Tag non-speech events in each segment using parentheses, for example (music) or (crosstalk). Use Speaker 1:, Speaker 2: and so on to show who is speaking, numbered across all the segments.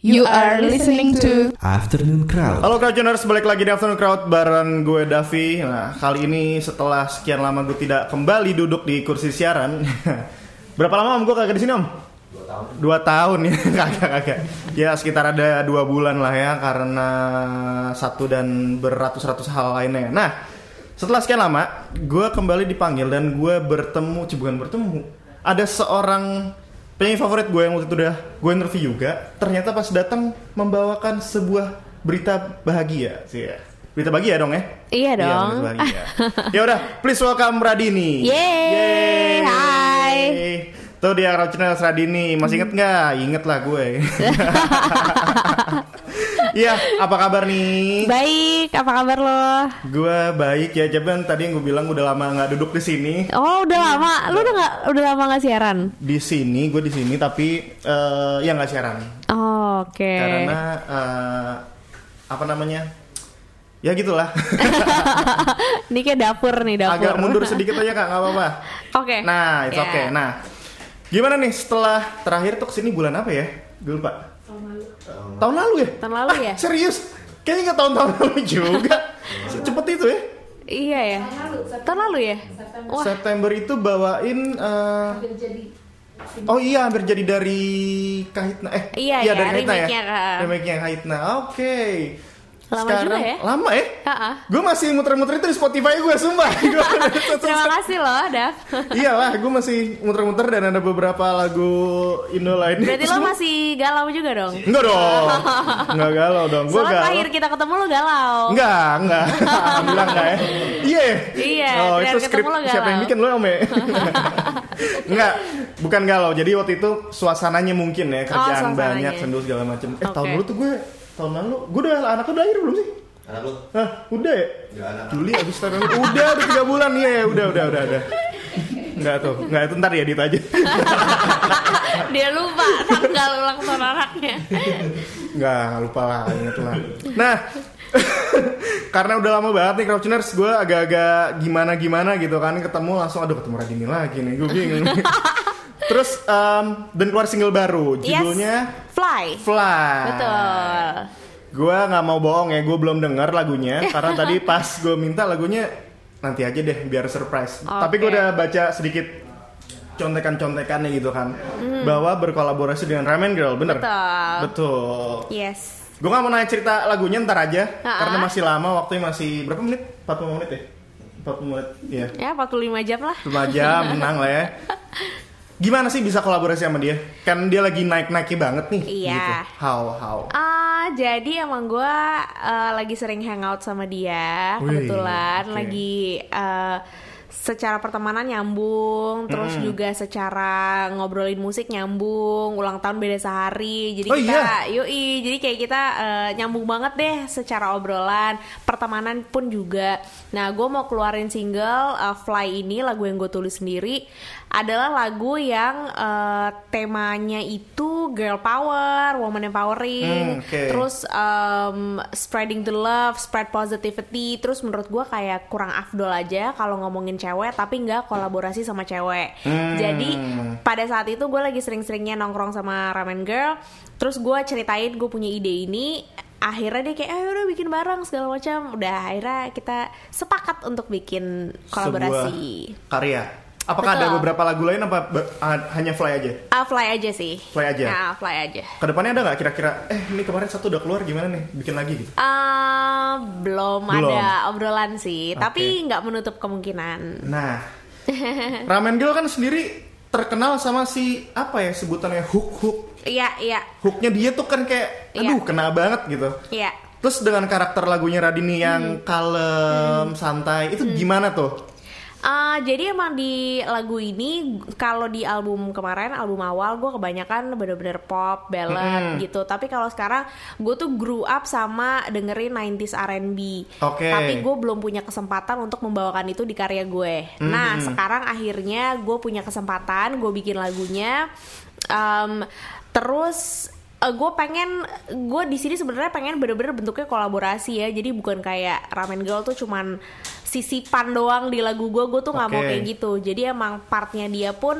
Speaker 1: You are listening to
Speaker 2: Afternoon Crowd.
Speaker 3: Halo Crowdtuners, balik lagi di Afternoon Crowd bareng gue Davi. Nah, kali ini setelah sekian lama gue tidak kembali duduk di kursi siaran. (laughs) Berapa lama om gue kagak di sini om? Dua tahun. Dua tahun ya, (laughs) kagak kagak. Ya sekitar ada dua bulan lah ya karena satu dan beratus-ratus hal lainnya. Nah, setelah sekian lama, gue kembali dipanggil dan gue bertemu, cih, bukan bertemu, ada seorang penyanyi favorit gue yang waktu itu udah gue interview juga. Ternyata pas datang membawakan sebuah berita bahagia, sih. ya. Berita bahagia dong ya?
Speaker 1: Iya dong.
Speaker 3: berita bahagia. ya udah, please welcome Radini.
Speaker 1: Yeay, hai.
Speaker 3: Tuh dia Rauchina Radini, masih inget nggak? Inget lah
Speaker 1: (laughs)
Speaker 3: gue. Iya, apa kabar nih?
Speaker 1: Baik, apa kabar lo?
Speaker 3: Gue baik ya, cuman tadi yang gue bilang udah lama nggak duduk di sini.
Speaker 1: Oh,
Speaker 3: Iya.
Speaker 1: udah lama. Lo udah nggak udah lama nggak siaran?
Speaker 3: Di sini, gue di sini, tapi eh, ya nggak siaran
Speaker 1: Oh, Oke.
Speaker 3: karena eh, apa namanya? Ya gitulah,
Speaker 1: (laughs) Ini kayak dapur nih dapur.
Speaker 3: (laughs) agak mundur sedikit aja kak, nggak apa-apa.
Speaker 1: Oke.
Speaker 3: Nah, it's
Speaker 1: Ya.
Speaker 3: okay. Nah, gimana nih setelah terakhir tuh kesini bulan apa ya? Gue lupa. Tahun lalu. Tahun lalu ya?
Speaker 1: Tahun lalu ya?
Speaker 3: Serius? Kayaknya nggak tahun-tahun (laughs) lalu juga. Cepet itu ya?
Speaker 1: Iya ya. Tahun lalu ya. Wah,
Speaker 3: September itu bawain eh, Oh iya hampir jadi dari Kahitna eh
Speaker 1: Iya, iya,
Speaker 3: dari Kahitna ya.
Speaker 1: remake-nya, Kak.
Speaker 3: Remake-nya Kahitna. Oke.
Speaker 1: Lama juga ya.
Speaker 3: Lama ya?
Speaker 1: Ha-ha.
Speaker 3: Gue masih muter-muter itu di Spotify gue sumpah. (laughs)
Speaker 1: (laughs)
Speaker 3: Gua-
Speaker 1: terima kasih loh, Dav.
Speaker 3: Iyalah, gue masih muter-muter dan ada beberapa lagu Indo lainnya.
Speaker 1: Berarti lo masih galau juga dong.
Speaker 3: Enggak dong. Enggak galau dong. Gue
Speaker 1: Soalnya
Speaker 3: galau.
Speaker 1: terakhir kita ketemu lo galau.
Speaker 3: Enggak, enggak. Alhamdulillah enggak ya. Iya.
Speaker 1: Iya,
Speaker 3: Oh,
Speaker 1: biar
Speaker 3: itu
Speaker 1: ketemu
Speaker 3: skrip
Speaker 1: lo galau.
Speaker 3: siapa yang bikin lo,
Speaker 1: (laughs)
Speaker 3: Om ya? enggak, bukan galau. Jadi waktu itu suasananya mungkin ya,
Speaker 1: Oh,
Speaker 3: kerjaan
Speaker 1: suasananya.
Speaker 3: banyak, sendu segala macam. Eh, tahun
Speaker 1: Oke.
Speaker 3: dulu tuh gue tahun lalu, gue udah anak udah lahir belum sih?
Speaker 2: Anak lu?
Speaker 3: Hah, udah ya?
Speaker 2: Udah anak.
Speaker 3: Juli abis tahun lalu. Udah, udah 3 bulan. Iya, ya, udah, udah, udah, udah. Enggak tuh, enggak itu ntar ya edit aja.
Speaker 1: (laughs) Dia lupa tanggal ulang tahun anaknya.
Speaker 3: Enggak, lupa lah, inget lah. Nah, (laughs) karena udah lama banget nih Crouchers, gue agak-agak gimana-gimana gitu kan. Ketemu langsung, aduh ketemu Radini lagi nih, gue bingung. (laughs) Terus, em, dan keluar single baru, judulnya
Speaker 1: Yes. Fly.
Speaker 3: Fly.
Speaker 1: Betul.
Speaker 3: Gue nggak mau bohong ya, gue belum dengar
Speaker 1: (laughs)
Speaker 3: lagunya. karena tadi pas gue minta lagunya, nanti aja deh biar surprise.
Speaker 1: Oke.
Speaker 3: Tapi gue udah baca sedikit contekan-contekannya gitu kan. Bahwa berkolaborasi dengan Ramen Girl, bener?
Speaker 1: Hmm. Betul.
Speaker 3: Betul.
Speaker 1: Yes.
Speaker 3: Gue gak mau nanya cerita lagunya ntar aja
Speaker 1: Ha-ha.
Speaker 3: Karena masih lama, waktunya masih berapa menit? 40 menit ya? 40 menit, iya
Speaker 1: Ya 45 jam lah.
Speaker 3: Cuma
Speaker 1: (laughs)
Speaker 3: aja, menang lah ya Gimana sih bisa kolaborasi sama dia? Kan dia lagi naik-naiknya banget nih
Speaker 1: Iya.
Speaker 3: gitu. How, how
Speaker 1: Ah, jadi emang gue lagi sering hangout sama dia
Speaker 3: Wih,
Speaker 1: kebetulan
Speaker 3: oke.
Speaker 1: lagi eh, secara pertemanan nyambung, terus juga secara ngobrolin musik nyambung, ulang tahun beda sehari, jadi
Speaker 3: Oh,
Speaker 1: kita
Speaker 3: iya?
Speaker 1: yoi, jadi kayak kita eh, nyambung banget deh secara obrolan, pertemanan pun juga. Nah, gue mau keluarin single eh, Fly ini lagu yang gue tulis sendiri adalah lagu yang eh, temanya itu girl power, woman empowering
Speaker 3: Hmm, oke.
Speaker 1: terus um, spreading the love, spread positivity. Terus menurut gua kayak kurang afdol aja kalau ngomongin cewek, tapi nggak kolaborasi sama cewek.
Speaker 3: Hmm.
Speaker 1: Jadi pada saat itu gue lagi sering-seringnya nongkrong sama ramen girl. Terus gua ceritain gue punya ide ini. Akhirnya dia kayak, ayo udah bikin bareng segala macam. Udah akhirnya kita sepakat untuk bikin kolaborasi.
Speaker 3: Sebuah karya Apakah ada
Speaker 1: Betul.
Speaker 3: beberapa lagu lain apa be- ah, hanya Fly aja?
Speaker 1: Ah, fly aja sih.
Speaker 3: Fly aja?
Speaker 1: Nah, fly aja.
Speaker 3: Kedepannya ada nggak kira-kira Eh ini kemarin satu udah keluar gimana nih? Bikin lagi gitu
Speaker 1: Eh, belum,
Speaker 3: Belum.
Speaker 1: ada obrolan sih,
Speaker 3: Oke.
Speaker 1: tapi nggak menutup kemungkinan.
Speaker 3: Nah,
Speaker 1: (laughs)
Speaker 3: Ramen Girl kan sendiri terkenal sama si apa ya sebutannya hook-hook
Speaker 1: Iya, iya,
Speaker 3: hooknya dia tuh kan kayak
Speaker 1: Iya.
Speaker 3: aduh kena banget gitu
Speaker 1: iya.
Speaker 3: terus dengan karakter lagunya Radini
Speaker 1: Hmm.
Speaker 3: yang kalem santai itu gimana tuh
Speaker 1: Eh, jadi emang di lagu ini kalau di album kemarin album awal gue kebanyakan bener-bener pop ballad gitu tapi kalau sekarang gue tuh grew up sama dengerin 90s R&B
Speaker 3: Oke.
Speaker 1: tapi gue belum punya kesempatan untuk membawakan itu di karya gue nah
Speaker 3: Mm-hmm.
Speaker 1: sekarang akhirnya gue punya kesempatan gue bikin lagunya Em, terus eh, gue pengen gue di sini sebenarnya pengen bener-bener bentuknya kolaborasi ya jadi bukan kayak ramen girl tuh cuman sisipan doang di lagu gue gue tuh nggak mau
Speaker 3: Oke.
Speaker 1: kayak gitu jadi emang partnya dia pun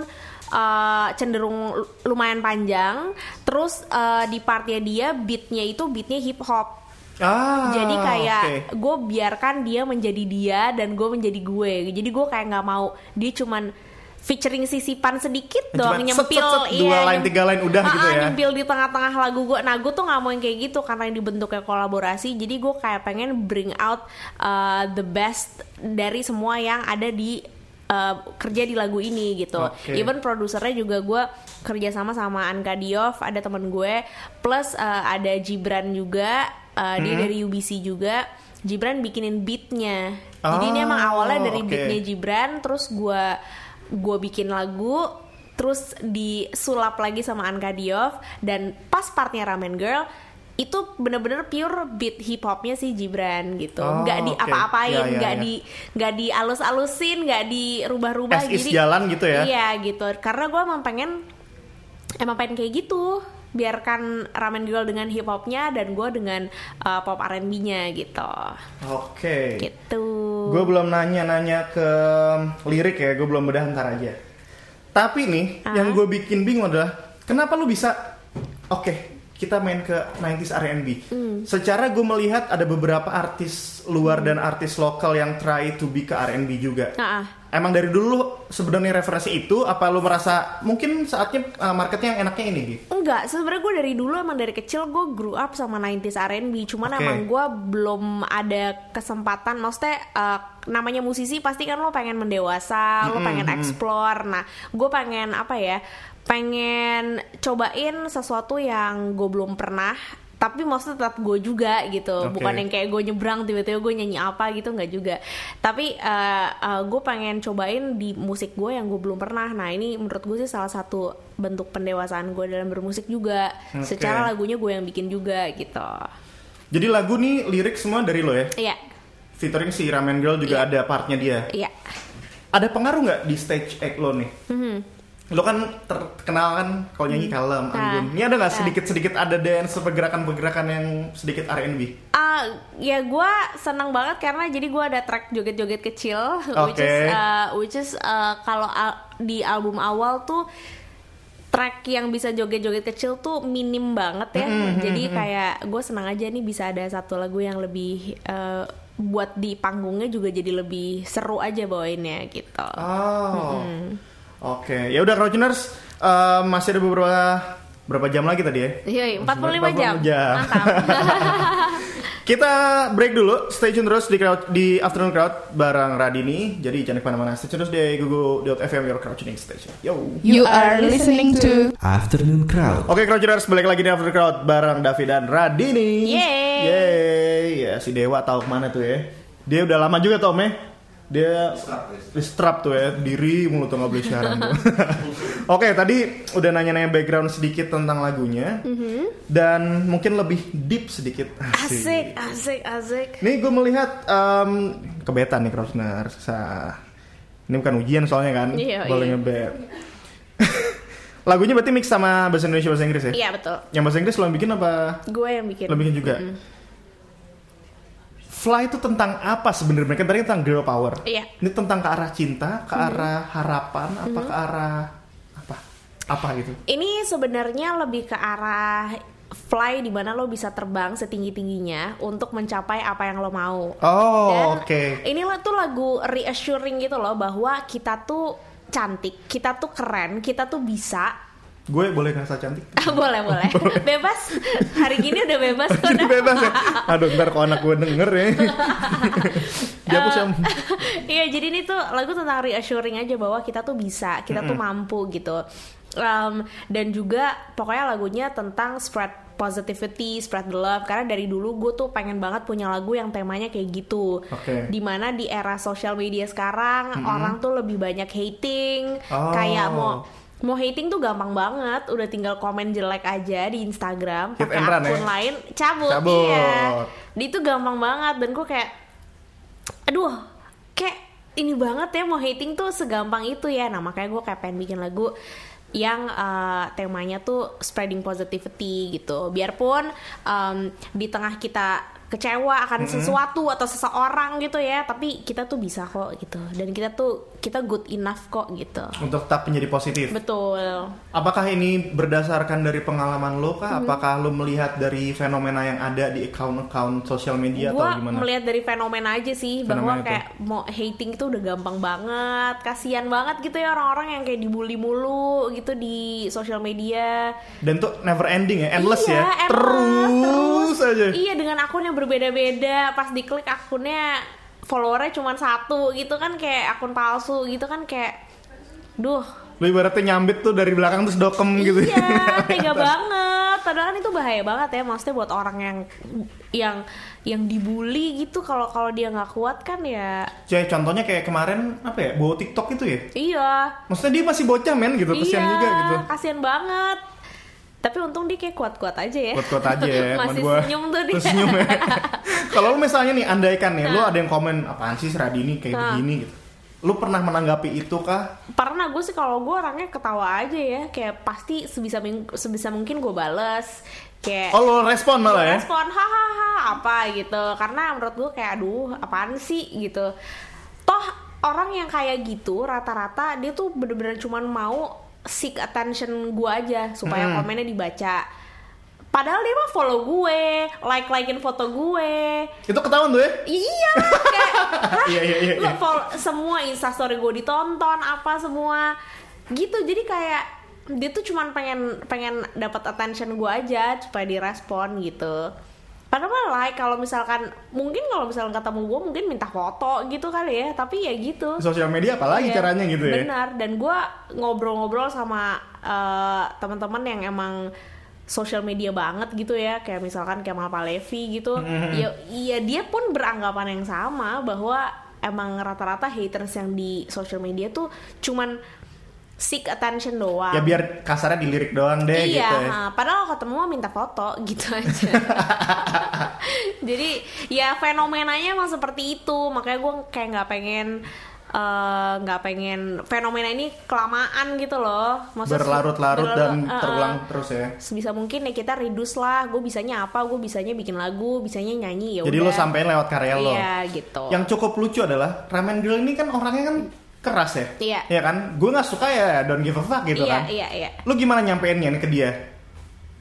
Speaker 1: eh, cenderung lu- lumayan panjang. Terus eh, di partnya dia beatnya itu beatnya hip hop.
Speaker 3: Ah,
Speaker 1: Jadi kayak
Speaker 3: oke.
Speaker 1: gue biarkan dia menjadi dia dan gue menjadi gue. Jadi gue kayak nggak mau dia cuman featuring sisipan sedikit
Speaker 3: Eh,
Speaker 1: doang
Speaker 3: Cuman set,
Speaker 1: nyempil
Speaker 3: set, set, dua line,
Speaker 1: nyem-
Speaker 3: tiga line, udah
Speaker 1: Ah,
Speaker 3: gitu
Speaker 1: ah,
Speaker 3: ya.
Speaker 1: nyempil di tengah-tengah lagu gue. Nah gue tuh nggak mau yang kayak gitu karena ini bentuknya kolaborasi. Jadi gue kayak pengen bring out uh, the best dari semua yang ada di uh, kerja di lagu ini gitu.
Speaker 3: Oke.
Speaker 1: Even produsernya juga gue kerja sama sama Anka Diof ada temen gue plus eh, ada Jibran juga eh, dia dari UBC juga Jibran bikinin beatnya jadi ini
Speaker 3: Oh,
Speaker 1: emang awalnya dari
Speaker 3: oke.
Speaker 1: beatnya Jibran terus gue gue bikin lagu terus disulap lagi sama Anka Diof dan pas partnya Ramen Girl itu bener-bener pure beat hip hopnya si Jibran gitu
Speaker 3: Oh,
Speaker 1: nggak di
Speaker 3: oke.
Speaker 1: apa-apain
Speaker 3: Ya, ya,
Speaker 1: nggak
Speaker 3: ya.
Speaker 1: di nggak di alus-alusin nggak dirubah-rubah
Speaker 3: As is
Speaker 1: jadi
Speaker 3: jalan gitu ya?
Speaker 1: iya gitu karena gue emang pengen emang pengen kayak gitu biarkan ramen girl dengan hip hopnya dan gue dengan uh, pop R&B-nya gitu
Speaker 3: Oke.
Speaker 1: gitu
Speaker 3: Gue belum nanya-nanya ke lirik ya, gue belum bedah ntar aja. Tapi nih, yang gue bikin bingung adalah kenapa lu bisa oke, kita main ke 90s R&B. Secara gue melihat ada beberapa artis luar dan artis lokal yang try to be ke R&B juga.
Speaker 1: Ah, ah.
Speaker 3: Emang dari dulu lu sebenarnya referensi itu apa lu merasa mungkin saatnya uh, marketnya yang enaknya ini gitu?
Speaker 1: Enggak, sebenarnya gue dari dulu emang dari kecil gue grew up sama 90s R&B Cuman
Speaker 3: Oke.
Speaker 1: emang gue belum ada kesempatan Maksudnya eh, namanya musisi pasti kan lo pengen mendewasa, lo pengen explore Nah gue pengen apa ya, pengen cobain sesuatu yang gue belum pernah tapi maksudnya tetap gue juga gitu
Speaker 3: Oke.
Speaker 1: bukan yang kayak gue nyebrang tiba-tiba gue nyanyi apa gitu nggak juga tapi eh, eh, gue pengen cobain di musik gue yang gue belum pernah nah ini menurut gue sih salah satu bentuk pendewasaan gue dalam bermusik juga
Speaker 3: Oke.
Speaker 1: secara lagunya gue yang bikin juga gitu
Speaker 3: Jadi lagu nih lirik semua dari lo ya.
Speaker 1: iya
Speaker 3: Featuring si Ramen Girl juga ada partnya dia.
Speaker 1: iya
Speaker 3: Ada pengaruh nggak di stage act lo nih?
Speaker 1: Mhm.
Speaker 3: Lo kan terkenal kan kalau nyanyi
Speaker 1: Hmm.
Speaker 3: kalem,
Speaker 1: Nah,
Speaker 3: anggun. Ini ada nggak sedikit-sedikit ada dance pergerakan-pergerakan yang sedikit R&B?
Speaker 1: Ah, ya gue senang banget karena jadi gue ada track joget-joget kecil (laughs) which
Speaker 3: Oke.
Speaker 1: is eh, which is eh, kalau al- di album awal tuh track yang bisa joget-joget kecil tuh minim banget ya jadi kayak gue senang aja nih bisa ada satu lagu yang lebih eh, buat di panggungnya juga jadi lebih seru aja bawainnya gitu
Speaker 3: Oh. Oke, ya udah Crowdtuners eh, masih ada beberapa berapa jam lagi tadi ya?
Speaker 1: Yoi, 45 jam,
Speaker 3: 45 jam.
Speaker 1: mantap
Speaker 3: (laughs) Kita break dulu, stay tune terus di crowd, di Afternoon Crowd bareng Radini. Jadi jangan kemana-mana, stay tune terus di google.fm your crowdtuning station. Yo.
Speaker 2: You are listening to
Speaker 4: Afternoon Crowd.
Speaker 3: Oke, Crowdtuners balik lagi di After Crowd bareng Davi dan Radini.
Speaker 1: Yeay.
Speaker 3: Yeay. Ya, si Dewa tahu kemana tuh ya. Dia udah lama juga tau, Meh. Dia distrap tuh ya, diri mulu tuh nggak boleh siaran.
Speaker 1: (laughs)
Speaker 3: tuh. Oke, tadi udah nanya-nanya background sedikit tentang lagunya. Dan mungkin lebih deep sedikit.
Speaker 1: Mhm. asik asik asik
Speaker 3: Nih gue melihat em, kebetan nih Krosner. Sa- Ini bukan ujian soalnya kan.
Speaker 1: Iya, iya.
Speaker 3: Boleh ngebet. (laughs) Lagunya berarti mix sama bahasa Indonesia bahasa Inggris ya?
Speaker 1: iya betul
Speaker 3: Yang bahasa Inggris lo yang bikin apa?
Speaker 1: gue yang bikin
Speaker 3: Lo bikin juga. Fly itu tentang apa sebenarnya? Kan tadi tentang girl power.
Speaker 1: Iya.
Speaker 3: Ini tentang ke arah cinta, ke arah harapan, apa ke arah apa? Apa gitu?
Speaker 1: Ini sebenarnya lebih ke arah fly di mana lo bisa terbang setinggi tingginya untuk mencapai apa yang lo mau.
Speaker 3: Oh,
Speaker 1: Dan
Speaker 3: oke.
Speaker 1: ini lo tuh lagu reassuring gitu loh bahwa kita tuh cantik, kita tuh keren, kita tuh bisa. (laughs)
Speaker 3: Gue boleh ngerasa cantik.
Speaker 1: boleh boleh, bebas. Hari gini udah bebas kok.
Speaker 3: Jadi
Speaker 1: dah.
Speaker 3: bebas ya. Aduh, ntar kalau anak gue denger
Speaker 1: (laughs)
Speaker 3: ya. Dia aku sama.
Speaker 1: Eh, Iya jadi ini tuh lagu tentang reassuring aja bahwa kita tuh bisa, kita tuh mampu gitu. Um, dan juga pokoknya lagunya tentang spread positivity, spread the love. Karena dari dulu gue tuh pengen banget punya lagu yang temanya kayak gitu.
Speaker 3: Oke.
Speaker 1: Dimana di era sosial media sekarang orang tuh lebih banyak hating,
Speaker 3: Oh.
Speaker 1: kayak mau mau hating tuh gampang banget, udah tinggal komen jelek aja di Instagram,
Speaker 3: Hit
Speaker 1: pakai
Speaker 3: and run,
Speaker 1: akun
Speaker 3: ya?
Speaker 1: lain cabut,
Speaker 3: Cabut.
Speaker 1: iya. Di itu gampang banget dan gue kayak aduh kayak ini banget ya mau hating tuh segampang itu ya nah makanya gue kayak pengen bikin lagu yang eh, temanya tuh spreading positivity gitu biarpun em, di tengah kita kecewa akan sesuatu atau seseorang gitu ya tapi kita tuh bisa kok gitu dan kita tuh kita good enough kok gitu
Speaker 3: untuk tetap menjadi positif.
Speaker 1: betul
Speaker 3: Apakah ini berdasarkan dari pengalaman lo kah? Apakah lo melihat dari fenomena yang ada di account-account sosial media
Speaker 1: gue
Speaker 3: atau Iya, gimana?
Speaker 1: melihat dari fenomena aja sih bahwa
Speaker 3: Fenomena itu.
Speaker 1: kayak mau hating itu udah gampang banget kasihan banget gitu ya orang-orang yang kayak dibully mulu gitu di sosial media
Speaker 3: Dan tuh never ending ya, endless
Speaker 1: iya,
Speaker 3: ya,
Speaker 1: endless,
Speaker 3: terus, aja.
Speaker 1: iya dengan akun yang berbeda-beda pas diklik akunnya followernya cuma satu gitu kan kayak akun palsu gitu kan kayak duh
Speaker 3: Lo ibaratnya nyambit tuh dari belakang terus dokem gitu. (laughs)
Speaker 1: Iya, tega banget. Padahal kan itu bahaya banget ya, maksudnya buat orang yang yang yang dibully gitu. Kalau kalau dia nggak kuat kan ya,
Speaker 3: Cuy, contohnya kayak kemarin apa ya, bawa TikTok itu ya.
Speaker 1: iya,
Speaker 3: Maksudnya dia masih bocah men gitu, kesian
Speaker 1: iya,
Speaker 3: juga gitu.
Speaker 1: kasihan banget. Tapi untung dia kayak kuat-kuat aja ya.
Speaker 3: Kuat-kuat aja
Speaker 1: (laughs)
Speaker 3: ya, teman
Speaker 1: Masih
Speaker 3: gua.
Speaker 1: senyum tuh dia.
Speaker 3: Terus (laughs) senyum
Speaker 1: (laughs)
Speaker 3: ya. Kalau lu misalnya nih andaikan nih, lu ada yang komen apaan sih si Radini kayak
Speaker 1: Nah.
Speaker 3: begini gitu. Lu pernah menanggapi itu kah?
Speaker 1: Pernah gue sih kalau gue orangnya ketawa aja ya, kayak pasti sebisa ming- sebisa mungkin gue bales. Kayak
Speaker 3: Oh, lu respon malah
Speaker 1: Eh.
Speaker 3: ya?
Speaker 1: respon hahaha apa gitu karena menurut gue kayak aduh apaan sih gitu toh orang yang kayak gitu rata-rata dia tuh bener-bener cuman mau seek attention gue aja supaya
Speaker 3: Hmm.
Speaker 1: komennya dibaca padahal dia mah follow gue like likein foto gue
Speaker 3: Itu ketahuan tuh ya?
Speaker 1: iya kayak
Speaker 3: (laughs)
Speaker 1: "Hah?
Speaker 3: Iya, iya, iya,
Speaker 1: Lu
Speaker 3: iya.
Speaker 1: follow- semua instastory gue ditonton apa semua gitu jadi kayak dia tuh cuman pengen pengen dapat attention gue aja supaya direspon gitu padahal mah like kalau misalkan mungkin kalau misalkan ketemu gue mungkin minta foto gitu kali ya tapi ya gitu
Speaker 3: Sosial media apalagi
Speaker 1: Iya,
Speaker 3: caranya gitu ya?
Speaker 1: benar dan gue ngobrol-ngobrol sama eh, teman-teman yang emang sosial media banget gitu ya kayak misalkan Kemal Palevi gitu
Speaker 3: Mm-hmm.
Speaker 1: ya iya dia pun beranggapan yang sama bahwa emang rata-rata haters yang di sosial media tuh cuman seek attention doang
Speaker 3: Ya biar kasarnya dilirik doang deh
Speaker 1: (laughs) iya,
Speaker 3: gitu ya.
Speaker 1: ha, padahal ketemu mah minta foto gitu aja.
Speaker 3: (laughs)
Speaker 1: Jadi ya fenomenanya emang seperti itu, makanya gue kayak nggak pengen eh, nggak pengen fenomena ini kelamaan gitu loh. Maksudnya-
Speaker 3: Berlarut-larut
Speaker 1: berlarut- eh,
Speaker 3: dan
Speaker 1: eh.
Speaker 3: terulang terus ya.
Speaker 1: Sebisa mungkin ya kita reduce lah. Gue bisanya apa? Gue bisanya bikin lagu, bisanya nyanyi ya.
Speaker 3: Jadi
Speaker 1: udah.
Speaker 3: lu sampein lewat karya lo.
Speaker 1: Iya gitu.
Speaker 3: Yang cukup lucu adalah Ramen Girl ini kan orangnya kan keras ya.
Speaker 1: Iya.
Speaker 3: Iya kan? Gue nggak suka ya don't give a fuck gitu
Speaker 1: iya,
Speaker 3: kan.
Speaker 1: Iya iya
Speaker 3: Lu gimana nyampeinnya nih ke dia?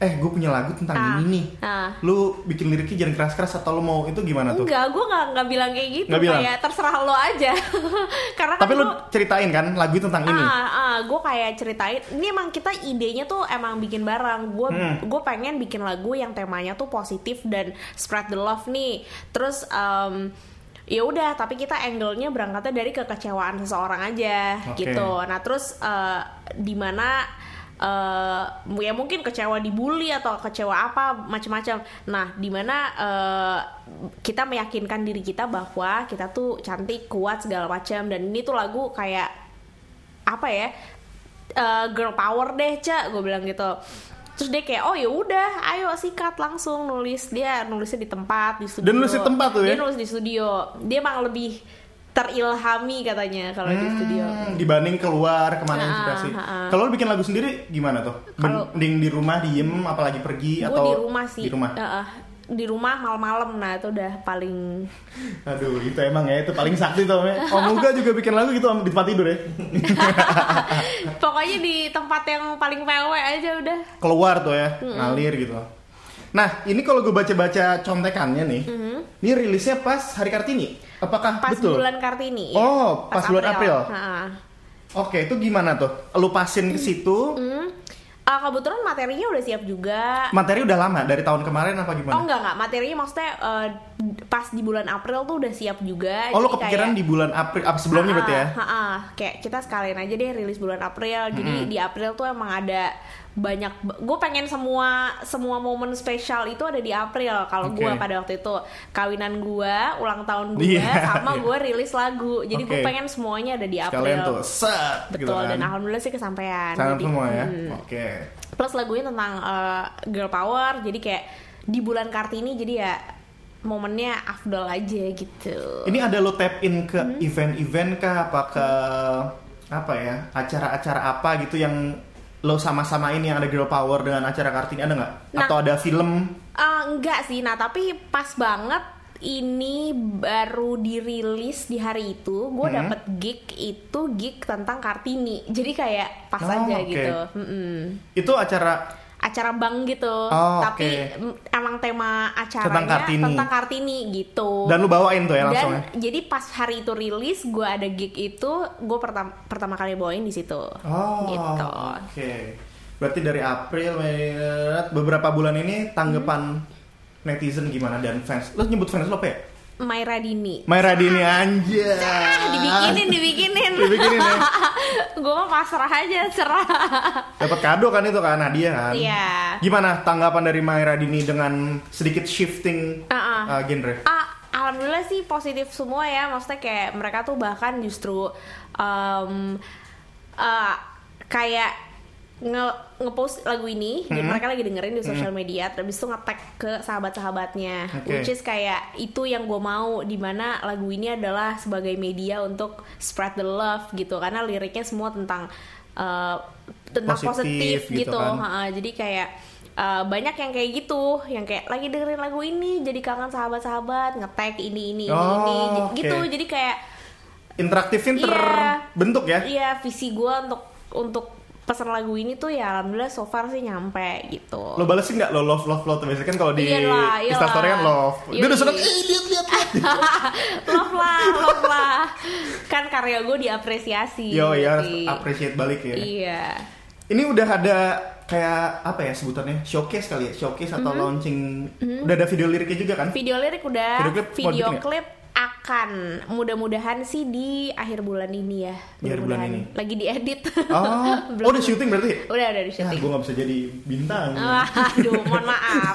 Speaker 3: Eh, gue punya lagu tentang
Speaker 1: Ah,
Speaker 3: ini nih.
Speaker 1: ah.
Speaker 3: Lu bikin liriknya jangan keras-keras atau lu mau itu gimana tuh?
Speaker 1: Enggak, gue nggak nggak bilang kayak gitu.
Speaker 3: Nggak bilang?
Speaker 1: Kayak terserah lo aja. (laughs) Karena kan
Speaker 3: Tapi lu
Speaker 1: gua-
Speaker 3: ceritain kan lagu tentang ini.
Speaker 1: Ah, ah, gue kayak ceritain. Ini emang kita idenya tuh emang bikin bareng. Gue
Speaker 3: Hmm.
Speaker 1: gue pengen bikin lagu yang temanya tuh positif dan spread the love nih. Terus em, ya udah, tapi kita angle-nya berangkatnya dari kekecewaan seseorang aja
Speaker 3: Oke.
Speaker 1: gitu. Nah terus eh, di mana eh, ya mungkin kecewa dibully atau kecewa apa macam-macam. Nah di mana eh, kita meyakinkan diri kita bahwa kita tuh cantik, kuat segala macam dan ini tuh lagu kayak apa ya eh, girl power deh cak gue bilang gitu terus dia kayak oh ya udah ayo sikat langsung nulis dia nulisnya di tempat di studio
Speaker 3: Dan nulis di tempat tuh ya?
Speaker 1: dia nulis di studio dia emang lebih terilhami katanya kalau di studio
Speaker 3: Hmm, dibanding keluar kemana
Speaker 1: Ah,
Speaker 3: inspirasi.
Speaker 1: ah, ah.
Speaker 3: Kalau lu bikin lagu sendiri gimana tuh?
Speaker 1: Kalau-
Speaker 3: Mending di rumah diem apalagi pergi
Speaker 1: gue
Speaker 3: atau
Speaker 1: di rumah sih Eh.
Speaker 3: Di rumah.
Speaker 1: Heeh. di rumah malam-malam nah itu udah
Speaker 3: (laughs)
Speaker 1: paling
Speaker 3: Aduh, itu emang ya itu paling sakti tuh. Om. Om Uga juga bikin lagu gitu Om, di tempat
Speaker 1: (laughs)
Speaker 3: tidur ya.
Speaker 1: pokoknya di tempat yang paling pewe aja udah
Speaker 3: Keluar tuh ya, ngalir gitu. Nah, ini kalau gue baca-baca contekannya nih, ini rilisnya pas hari Kartini. Apakah
Speaker 1: Mm-hmm. pas
Speaker 3: betul?
Speaker 1: bulan kartini
Speaker 3: Oh, pas bulan April.
Speaker 1: Heeh.
Speaker 3: Oke, itu gimana tuh? Lu pasin ke situ,
Speaker 1: Hmm. Ah, kebetulan materinya udah siap juga
Speaker 3: materi udah lama dari tahun kemarin apa gimana?
Speaker 1: Oh enggak enggak, materinya maksudnya eh, pas di bulan April tuh udah siap juga.
Speaker 3: Oh, lu
Speaker 1: Jadi
Speaker 3: kepikiran
Speaker 1: kayak-
Speaker 3: di bulan April apa sebelumnya
Speaker 1: Ah,
Speaker 3: berarti ya?
Speaker 1: ah, ah. kayak kita sekalian aja deh rilis bulan April. Jadi di April tuh emang ada banyak gue pengen semua semua momen spesial itu ada di April kalau
Speaker 3: Oke.
Speaker 1: gua pada waktu itu kawinan gua ulang tahun gua
Speaker 3: Iya,
Speaker 1: (laughs) sama
Speaker 3: iya.
Speaker 1: gua rilis lagu jadi gue
Speaker 3: Oke.
Speaker 1: pengen semuanya ada di April
Speaker 3: Kalian tuh set
Speaker 1: betul
Speaker 3: gitu kan.
Speaker 1: dan alhamdulillah sih kesampaian
Speaker 3: Salam
Speaker 1: Jadi,
Speaker 3: semua ya.
Speaker 1: mm,
Speaker 3: Oke.
Speaker 1: plus lagunya tentang eh, girl power jadi kayak di bulan kartini jadi ya momennya afdol aja gitu
Speaker 3: Ini ada lo tap in ke
Speaker 1: Hmm.
Speaker 3: event-event kah apa ke apa ya acara-acara apa gitu yang lo sama-samain yang ada girl power dengan acara kartini ada nggak?
Speaker 1: Nah.
Speaker 3: Atau ada film?
Speaker 1: Ah, enggak sih. Nah, tapi pas banget ini baru dirilis di hari itu, gue
Speaker 3: Hmm.
Speaker 1: dapet gig itu gig tentang Kartini. Jadi kayak pas
Speaker 3: Oh,
Speaker 1: aja
Speaker 3: oke.
Speaker 1: gitu. Mm-mm.
Speaker 3: Itu acara
Speaker 1: acara bank gitu,
Speaker 3: Oh,
Speaker 1: tapi
Speaker 3: oke.
Speaker 1: mm, emang tema acaranya
Speaker 3: Tentang Kartini.
Speaker 1: tentang Kartini gitu.
Speaker 3: dan lu bawain tuh ya
Speaker 1: Dan
Speaker 3: langsung ya?
Speaker 1: jadi pas hari itu rilis, gue ada gig itu, gue pertama pertama kali bawain di situ.
Speaker 3: Oh,
Speaker 1: gitu.
Speaker 3: Oke. Berarti dari April, Maret, beberapa bulan ini tanggapan
Speaker 1: Hmm.
Speaker 3: netizen gimana dan fans. Lu nyebut fans lo apa ya?
Speaker 1: Myra Dini.
Speaker 3: Maira Dini anjir.
Speaker 1: Ah, dibikinin, dibikinin. (laughs)
Speaker 3: Dibikinin ya.
Speaker 1: gue mah pasrah aja, cerah.
Speaker 3: Dapat kado kan itu kan Nadia kan?
Speaker 1: Iya.
Speaker 3: Gimana tanggapan dari Maira Dini dengan sedikit shifting
Speaker 1: Ah, ah.
Speaker 3: uh, genre?
Speaker 1: Ah, alhamdulillah sih positif semua ya. Maksudnya kayak mereka tuh bahkan justru em, eh, kayak nge ngepost lagu ini,
Speaker 3: Hmm.
Speaker 1: jadi mereka lagi dengerin di sosial media, terus itu nge-tag ke sahabat-sahabatnya,
Speaker 3: Oke.
Speaker 1: which is kayak itu yang gue mau, dimana lagu ini adalah sebagai media untuk spread the love gitu, karena liriknya semua tentang eh, tentang
Speaker 3: Positif
Speaker 1: positif, gitu,
Speaker 3: gitu kan.
Speaker 1: Ha, Uh, jadi kayak uh, banyak yang kayak gitu, yang kayak lagi dengerin lagu ini, jadi kangen sahabat-sahabat, ngetag ini ini ini,
Speaker 3: Oh,
Speaker 1: ini J-
Speaker 3: oke.
Speaker 1: gitu. Jadi kayak
Speaker 3: Interaktifnya
Speaker 1: Iya.
Speaker 3: terbentuk ya?
Speaker 1: iya visi gua untuk untuk pesan lagu ini tuh ya alhamdulillah so far sih nyampe gitu.
Speaker 3: Lo balesin nggak lo love love love tuh biasanya kan kalau di
Speaker 1: Iyalah, iyalah.
Speaker 3: Instastory kan love. Dia udah
Speaker 1: Yoi.
Speaker 3: seneng. "Ih, liat, liat, liat."
Speaker 1: (laughs) love lah, love lah. Kan karya gue diapresiasi.
Speaker 3: Yo ya harus
Speaker 1: sih.
Speaker 3: appreciate balik ya.
Speaker 1: Iya.
Speaker 3: Ini udah ada kayak apa ya sebutannya showcase kali ya showcase atau
Speaker 1: Mm-hmm.
Speaker 3: launching udah ada video liriknya juga kan?
Speaker 1: Video lirik udah,
Speaker 3: Video klip mau
Speaker 1: video
Speaker 3: bikin nggak?
Speaker 1: klip akan mudah-mudahan sih di akhir bulan ini ya.
Speaker 3: Di akhir bulan
Speaker 1: Mudah-mudahan.
Speaker 3: ini.
Speaker 1: Lagi diedit. (laughs)
Speaker 3: Oh, oh udah syuting berarti?
Speaker 1: udah udah di
Speaker 3: Ya,
Speaker 1: syuting. Ah.
Speaker 3: gue nggak bisa jadi bintang.
Speaker 1: Aduh, mohon
Speaker 3: (laughs)
Speaker 1: maaf.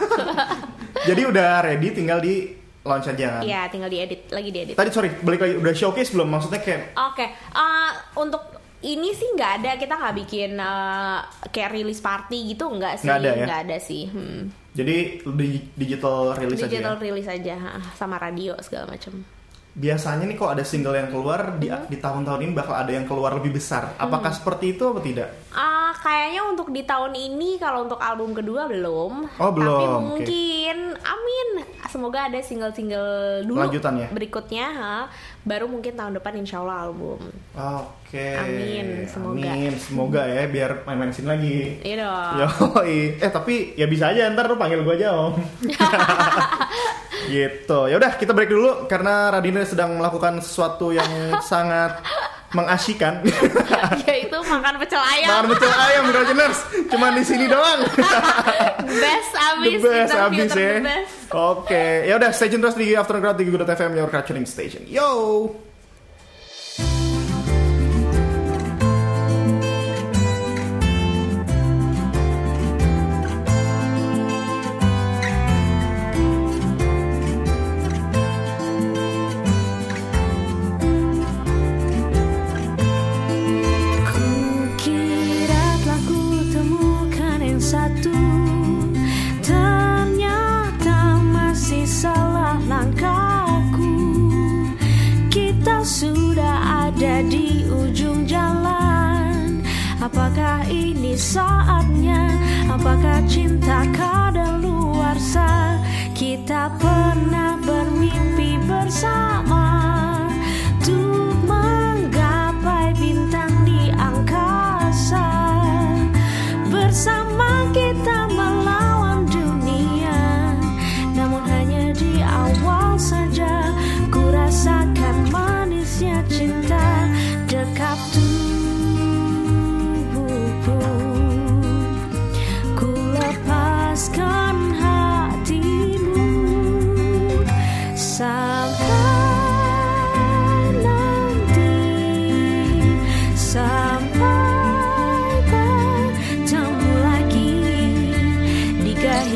Speaker 3: Jadi udah ready, tinggal di launch aja kan?
Speaker 1: Iya, tinggal diedit lagi diedit. Oke,
Speaker 3: Tadi sorry, balik lagi udah showcase belum? Maksudnya kayak
Speaker 1: eh, untuk ini sih nggak ada kita nggak bikin eh, kayak rilis party gitu nggak sih?
Speaker 3: Nggak ada ya?
Speaker 1: Nggak ada sih. Hmm.
Speaker 3: jadi di- digital release aja.
Speaker 1: Digital
Speaker 3: Ya?
Speaker 1: rilis aja ah, sama radio segala macam.
Speaker 3: Biasanya nih kalau ada single yang keluar di
Speaker 1: Hmm.
Speaker 3: di tahun-tahun ini bakal ada yang keluar lebih besar. Apakah seperti itu atau tidak?
Speaker 1: Ah, kayaknya untuk di tahun ini kalau untuk album kedua belum.
Speaker 3: Oh,
Speaker 1: Tapi
Speaker 3: belum, oke.
Speaker 1: mungkin, amin. Semoga ada single-single dulu.
Speaker 3: Lanjutan ya?
Speaker 1: Berikutnya, ha, baru mungkin tahun depan insya Allah album.
Speaker 3: Oke.
Speaker 1: Amin, semoga.
Speaker 3: Amin, semoga ya biar main-main sini lagi.
Speaker 1: Iya dong.
Speaker 3: Yoi. Eh tapi ya bisa aja ntar lu panggil gue aja om.
Speaker 1: (laughs)
Speaker 3: gitu. Ya udah kita break dulu karena Radina sedang melakukan sesuatu yang
Speaker 1: (laughs)
Speaker 3: sangat mengasyikan.
Speaker 1: Ya. yaitu makan pecel ayam
Speaker 3: Makan pecel ayam Rajiners. Cuman di sini doang.
Speaker 1: best abis
Speaker 3: the best
Speaker 1: interview
Speaker 3: abis
Speaker 1: ter-
Speaker 3: ya.
Speaker 1: the best.
Speaker 3: Oke. Ya udah stay tune terus di Afternoon Crowd di Good FM Your Capturing Station. Yo.
Speaker 4: Kukira telah ku temukan yang satu Ternyata masih salah langkahku Kita sudah ada di ujung jalan Apakah ini saatnya? Apakah cinta kadaluarsa? Kita pernah bermimpi bersama Untuk menggapai bintang di angkasa Bersama kita melawan dunia Namun hanya di awal saja Ku rasakan manisnya cinta Dekat tubuhku Ku lepaskan hati kan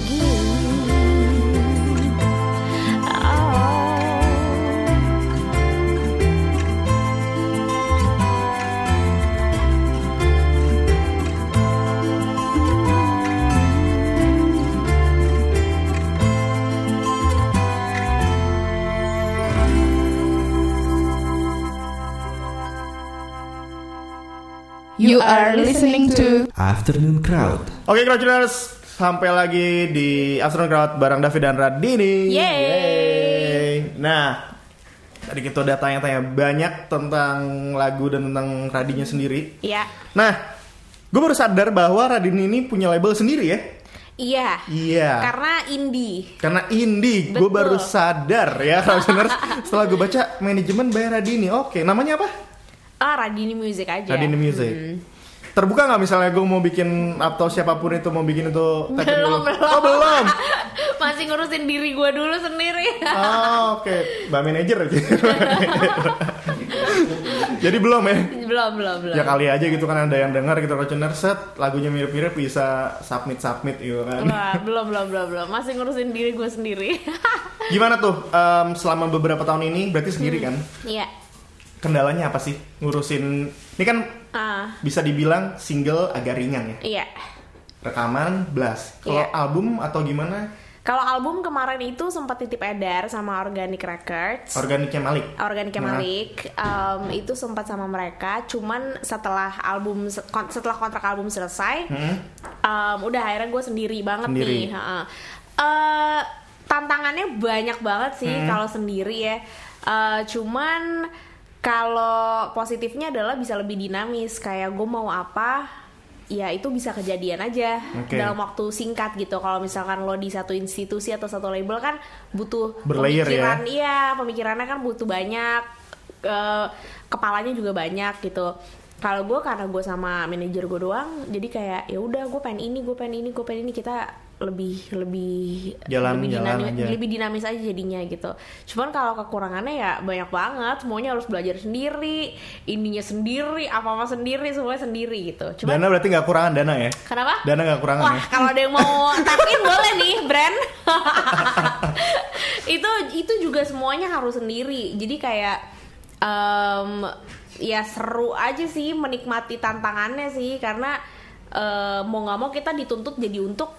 Speaker 4: Oh.
Speaker 2: You are listening to
Speaker 5: Afternoon Crowd.
Speaker 3: Oke Crowdtuners, sampai lagi di Afternoon Crowd bareng David dan Radini.
Speaker 1: Yeay.
Speaker 3: Yeay. Nah, tadi kita udah tanya-tanya banyak tentang lagu dan tentang Radinya sendiri.
Speaker 1: Iya.
Speaker 3: Nah, gue baru sadar bahwa Radini ini punya label sendiri ya.
Speaker 1: Iya.
Speaker 3: Iya.
Speaker 1: Karena indie.
Speaker 3: Karena indie, gue
Speaker 1: Betul.
Speaker 3: baru sadar ya Crowdtuners. Setelah gue baca manajemen bayar Radini, oke, namanya apa?
Speaker 1: Ah, Radini Music aja.
Speaker 3: Radini Music.
Speaker 1: Hmm.
Speaker 3: Terbuka nggak misalnya gue mau bikin atau siapapun itu mau bikin itu tapi
Speaker 1: Belum,
Speaker 3: dulu.
Speaker 1: belum.
Speaker 3: Oh, belum.
Speaker 1: (laughs) Masih ngurusin diri gue dulu sendiri. (laughs)
Speaker 3: Oh, oke, mbak manajer aja. (laughs) Jadi belum ya?
Speaker 1: belum, belum, belum.
Speaker 3: Ya kali aja gitu kan ada yang dengar kita recuner set lagunya mirip-mirip bisa submit submit gitu kan.
Speaker 1: Wah, belum, belum, belum, belum. Masih ngurusin diri gue sendiri. (laughs)
Speaker 3: Gimana tuh em, selama beberapa tahun ini berarti sendiri kan?
Speaker 1: Iya.
Speaker 3: Kendalanya apa sih ngurusin? Ini kan
Speaker 1: Ah,
Speaker 3: bisa dibilang single agak ringan ya.
Speaker 1: iya.
Speaker 3: Rekaman blast. Kalau
Speaker 1: Iya.
Speaker 3: album atau gimana?
Speaker 1: Kalau album kemarin itu sempat titip edar sama Organic Records.
Speaker 3: Organiknya Malik.
Speaker 1: Organic
Speaker 3: Nah.
Speaker 1: Malik em, itu sempat sama mereka, cuman setelah album se- kon- setelah kontrak album selesai,
Speaker 3: Hmm?
Speaker 1: em, Um, udah akhirnya gue sendiri banget
Speaker 3: Sendiri.
Speaker 1: nih. heeh. Eh, tantangannya banyak banget sih
Speaker 3: Hmm.
Speaker 1: kalau sendiri ya. Eh, cuman kalau positifnya adalah bisa lebih dinamis, kayak gue mau apa. Ya itu bisa kejadian aja
Speaker 3: Oke.
Speaker 1: dalam waktu singkat gitu. Kalau misalkan lo di satu institusi atau satu label kan butuh
Speaker 3: Berlayer ya.
Speaker 1: pemikiran iya pemikirannya kan butuh banyak eh, kepalanya juga banyak gitu kalau gue karena gue sama manajer gue doang jadi kayak ya udah gue pengen ini gue pengen ini gue pengen ini kita lebih lebih
Speaker 3: Jalan-
Speaker 1: lebih
Speaker 3: jalan
Speaker 1: dinamis,
Speaker 3: aja.
Speaker 1: lebih dinamis aja jadinya gitu cuman kalau kekurangannya ya banyak banget semuanya harus belajar sendiri ininya sendiri apa apa sendiri semuanya sendiri gitu cuman
Speaker 3: Dana berarti nggak kurangan dana ya?
Speaker 1: Kenapa?
Speaker 3: Dana nggak kurangan
Speaker 1: Wah,
Speaker 3: ya?
Speaker 1: kalau ada yang
Speaker 3: (laughs)
Speaker 1: mau tap in boleh nih, brand. (laughs) itu itu juga semuanya harus sendiri. Jadi kayak em, ya seru aja sih menikmati tantangannya sih karena eh, mau nggak mau kita dituntut jadi untuk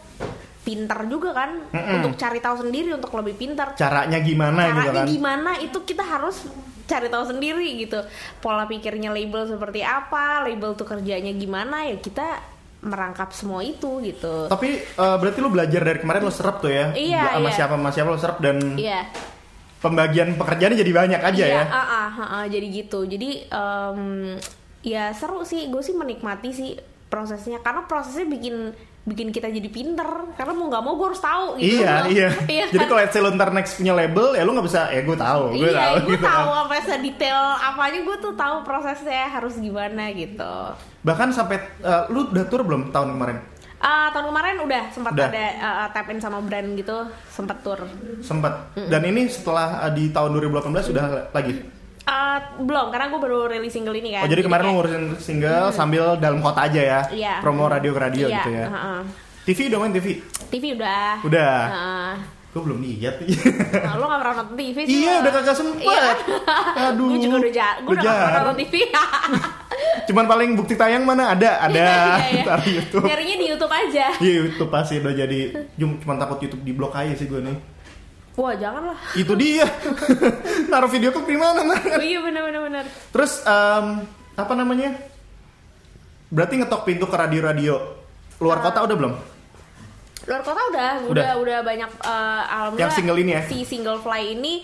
Speaker 1: pintar juga kan, untuk cari tahu sendiri, untuk lebih pintar
Speaker 3: Caranya gimana gitu
Speaker 1: caranya
Speaker 3: kan?
Speaker 1: gimana itu kita harus cari tahu sendiri gitu pola pikirnya label seperti apa label tuh kerjanya gimana ya kita merangkap semua itu gitu
Speaker 3: Tapi eh, berarti lu belajar dari kemarin lu serap tuh ya?
Speaker 1: Iya,
Speaker 3: Sama
Speaker 1: iya.
Speaker 3: siapa sama siapa lu serap dan
Speaker 1: iya
Speaker 3: pembagian pekerjaannya jadi banyak aja
Speaker 1: iya
Speaker 3: ya.
Speaker 1: ah, ah, ah, ah, jadi gitu jadi em, ya seru sih gue sih menikmati sih prosesnya karena prosesnya bikin bikin kita jadi pinter karena mau nggak mau gue harus tahu gitu
Speaker 3: Iya,
Speaker 1: (laughs)
Speaker 3: iya. Jadi
Speaker 1: kan?
Speaker 3: kalau let's say lu ntar next punya label, ya lu nggak bisa, ya gue tahu, gue
Speaker 1: iya,
Speaker 3: tahu.
Speaker 1: gue
Speaker 3: gitu kan.
Speaker 1: tahu apa sedetail apanya gue tuh tahu prosesnya harus gimana gitu.
Speaker 3: Bahkan sampai eh, lu udah tour belum tahun kemarin?
Speaker 1: Ah, tahun kemarin udah sempat
Speaker 3: Udah.
Speaker 1: ada eh, tap in sama brand gitu, sempat tour.
Speaker 3: Sempat. Dan ini setelah eh, di tahun 2018 sudah lagi.
Speaker 1: Ah, belum, karena gue baru rilis single ini kan.
Speaker 3: Oh, jadi kemarin
Speaker 1: kayak-
Speaker 3: lu ngurusin single sambil dalam kota aja ya.
Speaker 1: Iya.
Speaker 3: Promo radio ke radio
Speaker 1: Iya,
Speaker 3: gitu ya.
Speaker 1: heeh.
Speaker 3: TV udah main TV.
Speaker 1: TV udah.
Speaker 3: Udah.
Speaker 1: Heeh.
Speaker 3: Gue belum lihat.
Speaker 1: Nah, lo gak pernah nonton TV sih?
Speaker 3: (laughs) Iya,
Speaker 1: lo.
Speaker 3: udah kagak sempet.
Speaker 1: Iya.
Speaker 3: Aduh.
Speaker 1: Gue juga udah jahat. Gue udah gak pernah
Speaker 3: Jarang.
Speaker 1: nonton TV.
Speaker 3: Cuman paling bukti tayang mana ada, ada
Speaker 1: (laughs) Iya,
Speaker 3: ntar
Speaker 1: iya.
Speaker 3: YouTube.
Speaker 1: Nyarinya di YouTube aja.
Speaker 3: Iya YouTube pasti udah jadi cum- cuman takut YouTube diblok aja sih gue nih.
Speaker 1: Wah, jangan lah.
Speaker 3: Itu dia. (laughs) Naruh video klip di mana? Mar?
Speaker 1: Oh, iya, bener, bener, bener.
Speaker 3: Terus em, apa namanya? Berarti ngetok pintu ke radio-radio luar kota udah belum?
Speaker 1: luar kota udah
Speaker 3: Udah.
Speaker 1: udah udah, banyak eh, alhamdulillah
Speaker 3: Yang single ini ya?
Speaker 1: si single fly ini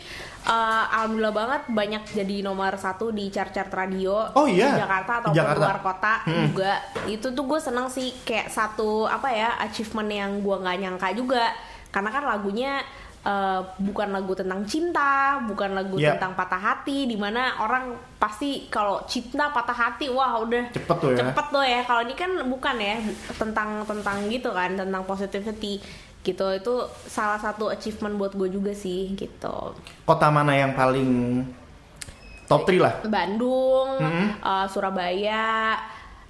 Speaker 1: eh, alhamdulillah banget banyak jadi nomor satu di chart-chart radio
Speaker 3: Oh, iya.
Speaker 1: di Jakarta
Speaker 3: Di
Speaker 1: atau
Speaker 3: Jakarta. Hmm.
Speaker 1: luar kota juga itu tuh gue seneng sih kayak satu apa ya achievement yang gue nggak nyangka juga karena kan lagunya eh, bukan lagu tentang cinta bukan lagu
Speaker 3: Iya.
Speaker 1: tentang patah hati dimana orang pasti kalau cinta patah hati wah udah
Speaker 3: Cepet tuh ya.
Speaker 1: cepet tuh ya kalau ini kan bukan ya tentang tentang gitu kan tentang positivity gitu itu salah satu achievement buat gue juga sih gitu
Speaker 3: Kota mana yang paling top 3 lah?
Speaker 1: Bandung
Speaker 3: Mm-hmm.
Speaker 1: eh, Surabaya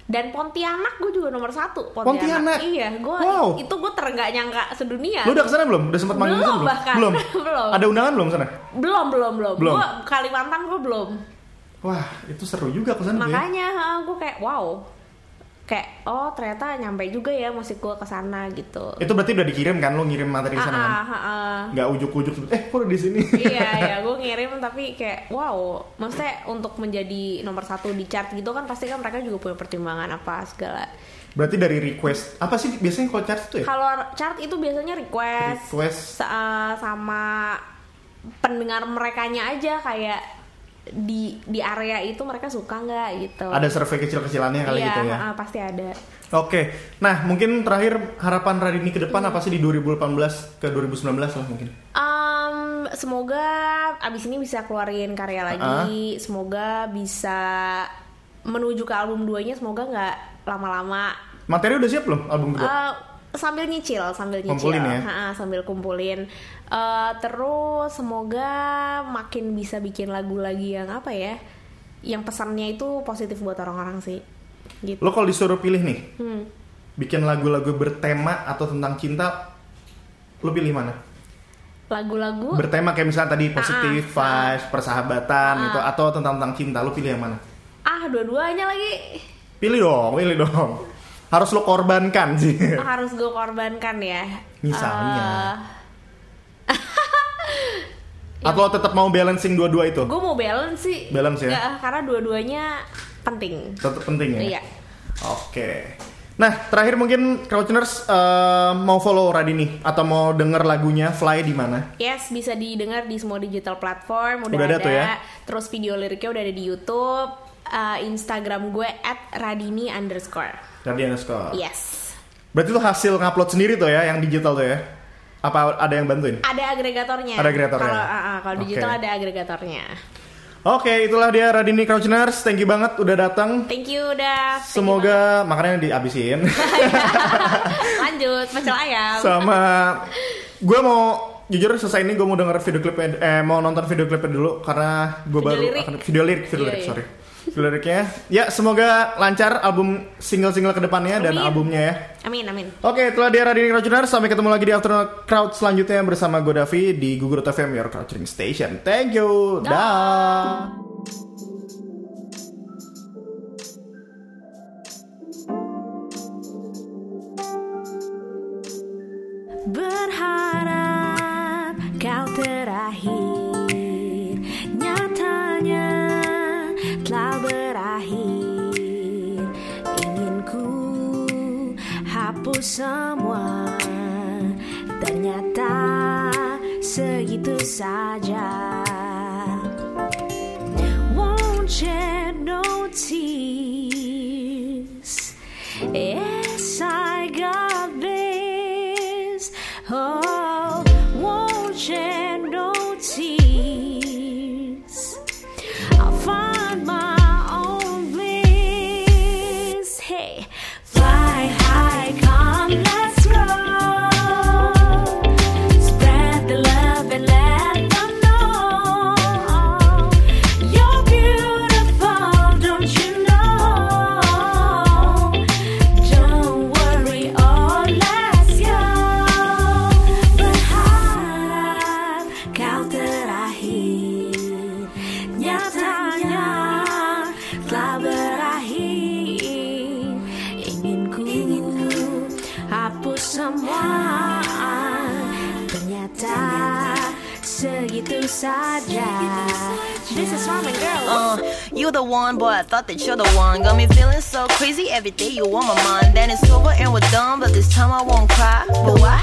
Speaker 1: dan Pontianak gue juga nomor satu
Speaker 3: Pontianak?
Speaker 1: iya gue
Speaker 3: Wow.
Speaker 1: itu gue terenggak nyangka sedunia
Speaker 3: Lu udah kesana belum? Udah sempet manggil
Speaker 1: Iya. Belum
Speaker 3: kesana
Speaker 1: bahkan.
Speaker 3: Belum.
Speaker 1: (laughs) Belum.
Speaker 3: Ada undangan belum sana?
Speaker 1: belum belum belum,
Speaker 3: Belum.
Speaker 1: Gua Kalimantan gue belum
Speaker 3: Wah, itu seru juga kesana tuh ya.
Speaker 1: makanya gue kayak wow kayak oh ternyata nyampe juga ya musik gue ke sana gitu.
Speaker 3: Itu berarti udah dikirim kan? Lu ngirim materi ke
Speaker 1: Ah,
Speaker 3: sana kan?
Speaker 1: ah, ah, ah.
Speaker 3: Nggak ujuk-ujuk, eh kok udah di sini?
Speaker 1: iya ya gue ngirim tapi kayak wow maksudnya untuk menjadi nomor satu di chart gitu kan pasti kan mereka juga punya pertimbangan apa segala
Speaker 3: (laughs) berarti dari request, apa sih biasanya kalau charts itu ya?
Speaker 1: kalau chart itu biasanya request,
Speaker 3: Request.
Speaker 1: sa- eh, sama pendengar merekanya aja kayak di di area itu mereka suka nggak gitu
Speaker 3: Ada survei kecil-kecilannya kali
Speaker 1: iya
Speaker 3: gitu ya?
Speaker 1: eh, pasti ada
Speaker 3: Oke, nah mungkin terakhir harapan Radini ke
Speaker 1: Hmm.
Speaker 3: depan apa sih di 2018 ke 2019 lah mungkin?
Speaker 1: Em, semoga abis ini bisa keluarin karya lagi semoga bisa menuju ke album duanya semoga nggak lama-lama
Speaker 3: Materi udah siap belum album kedua?
Speaker 1: Eh, sambil nyicil, sambil nyicil,
Speaker 3: Kumpulin ya?
Speaker 1: Ha-ha, sambil kumpulin. Eh, terus semoga makin bisa bikin lagu lagi yang apa ya, yang pesannya itu positif buat orang-orang sih. Gitu.
Speaker 3: Lo kalau disuruh pilih nih,
Speaker 1: Hmm.
Speaker 3: bikin lagu-lagu bertema atau tentang cinta, lo pilih mana?
Speaker 1: Lagu-lagu
Speaker 3: Bertema kayak misalnya tadi positif,
Speaker 1: Uh. Ah, ah.
Speaker 3: vibes, persahabatan gitu, atau tentang tentang cinta, lo pilih yang mana?
Speaker 1: ah dua-duanya lagi
Speaker 3: Pilih dong, pilih dong. Harus lo korbankan sih.
Speaker 1: harus gue korbankan ya.
Speaker 3: Misalnya. atau lo tetap mau balancing dua-dua itu?
Speaker 1: gue Eh, mau balance sih.
Speaker 3: Balance ya?
Speaker 1: karena dua-duanya penting.
Speaker 3: Tetap penting ya.
Speaker 1: Iya.
Speaker 3: Oke. Nah, terakhir mungkin Crouchers eh, mau follow Radini atau mau denger lagunya Fly di mana?
Speaker 1: Yes, bisa didengar di semua digital platform. Udah,
Speaker 3: Udah ada
Speaker 1: ada,
Speaker 3: tuh ya?
Speaker 1: Terus video liriknya udah ada di YouTube. Uh, Instagram gue at radini underscore.
Speaker 3: Radini underscore.
Speaker 1: Yes.
Speaker 3: Berarti itu hasil ngupload sendiri tuh ya, yang digital tuh ya? Apa ada yang bantuin?
Speaker 1: Ada agregatornya.
Speaker 3: Ada agregatornya.
Speaker 1: Kalau ah, ah, kalau digital
Speaker 3: Oke.
Speaker 1: ada agregatornya.
Speaker 3: Oke, itulah dia Radini Crouchers. Thank you banget udah datang.
Speaker 1: Thank you udah. Thank you
Speaker 3: Semoga makanannya
Speaker 1: (laughs)
Speaker 3: dihabisin.
Speaker 1: banget. (laughs) Lanjut, pecel ayam.
Speaker 3: Sama gue mau jujur selesai ini gue mau denger video klipnya eh mau nonton video klipnya dulu karena gue
Speaker 1: Video
Speaker 3: baru
Speaker 1: lirik.
Speaker 3: akan video lirik video
Speaker 1: Iya,
Speaker 3: lirik
Speaker 1: iya.
Speaker 3: sorry video liriknya ya semoga lancar album single-single kedepannya dan
Speaker 1: Amin.
Speaker 3: albumnya ya
Speaker 1: Amin, amin.
Speaker 3: Oke, itulah dia Radini Crowdjuners. Sampai ketemu lagi di Afternoon Crowd selanjutnya bersama gue Davi di Google FM, your crowdtuning station. Thank you. Dah.
Speaker 4: Berharap kau terakhir Nyatanya telah berakhir Ingin ku hapus semua Ternyata segitu saja won't shed no tears. Yes, I got this. Oh, won't shed no tears. I'll find my own bliss. Hey, fly high, come, let's go. Spread the love and let them know you're beautiful, don't you know? Don't worry, oh, let's go. Berharap kau terakhir, nyatanya telah berakhir. Ingin ku hapus semua, ternyata segitu saja. This is Ramen Girl.
Speaker 5: Uh, you the one, boy, I thought that you're the one. Got me feeling so crazy every day you on my mind. Then it's over and we're done, but this time I won't cry. But why?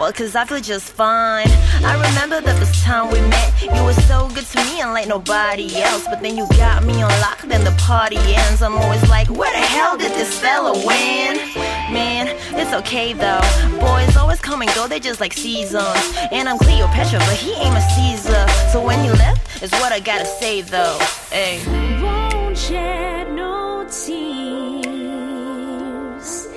Speaker 5: Well, cause I feel just fine. I remember the first time we met, you were so good to me, unlike nobody else. But then you got me on lock, then the party ends. I'm always like, where the hell did this fella win? Man, it's okay though. Boys always come and go, they just like seasons. And I'm Cleopatra, but he ain't a Caesar. So when he left, is what I gotta say though. Hey.
Speaker 4: won't shed no tears.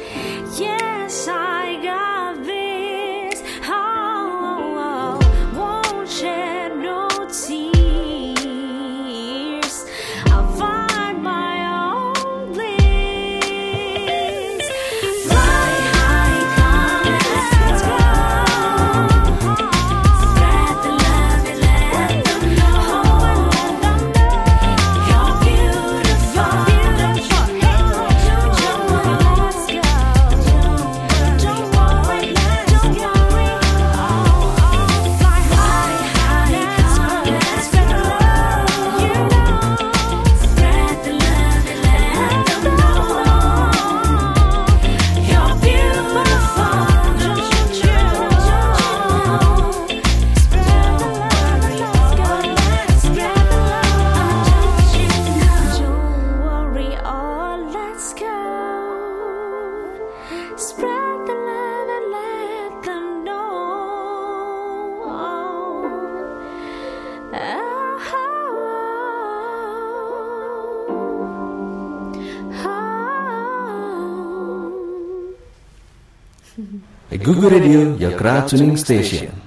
Speaker 4: Yes, I got this. Oh, won't shed no tears. I'll find my own bliss. Fly high, come, let's go. Spread the love and let them know. You're beautiful,
Speaker 6: Spread the love and let them Oh, know. oh,
Speaker 1: Google Radio, your crowd tuning station.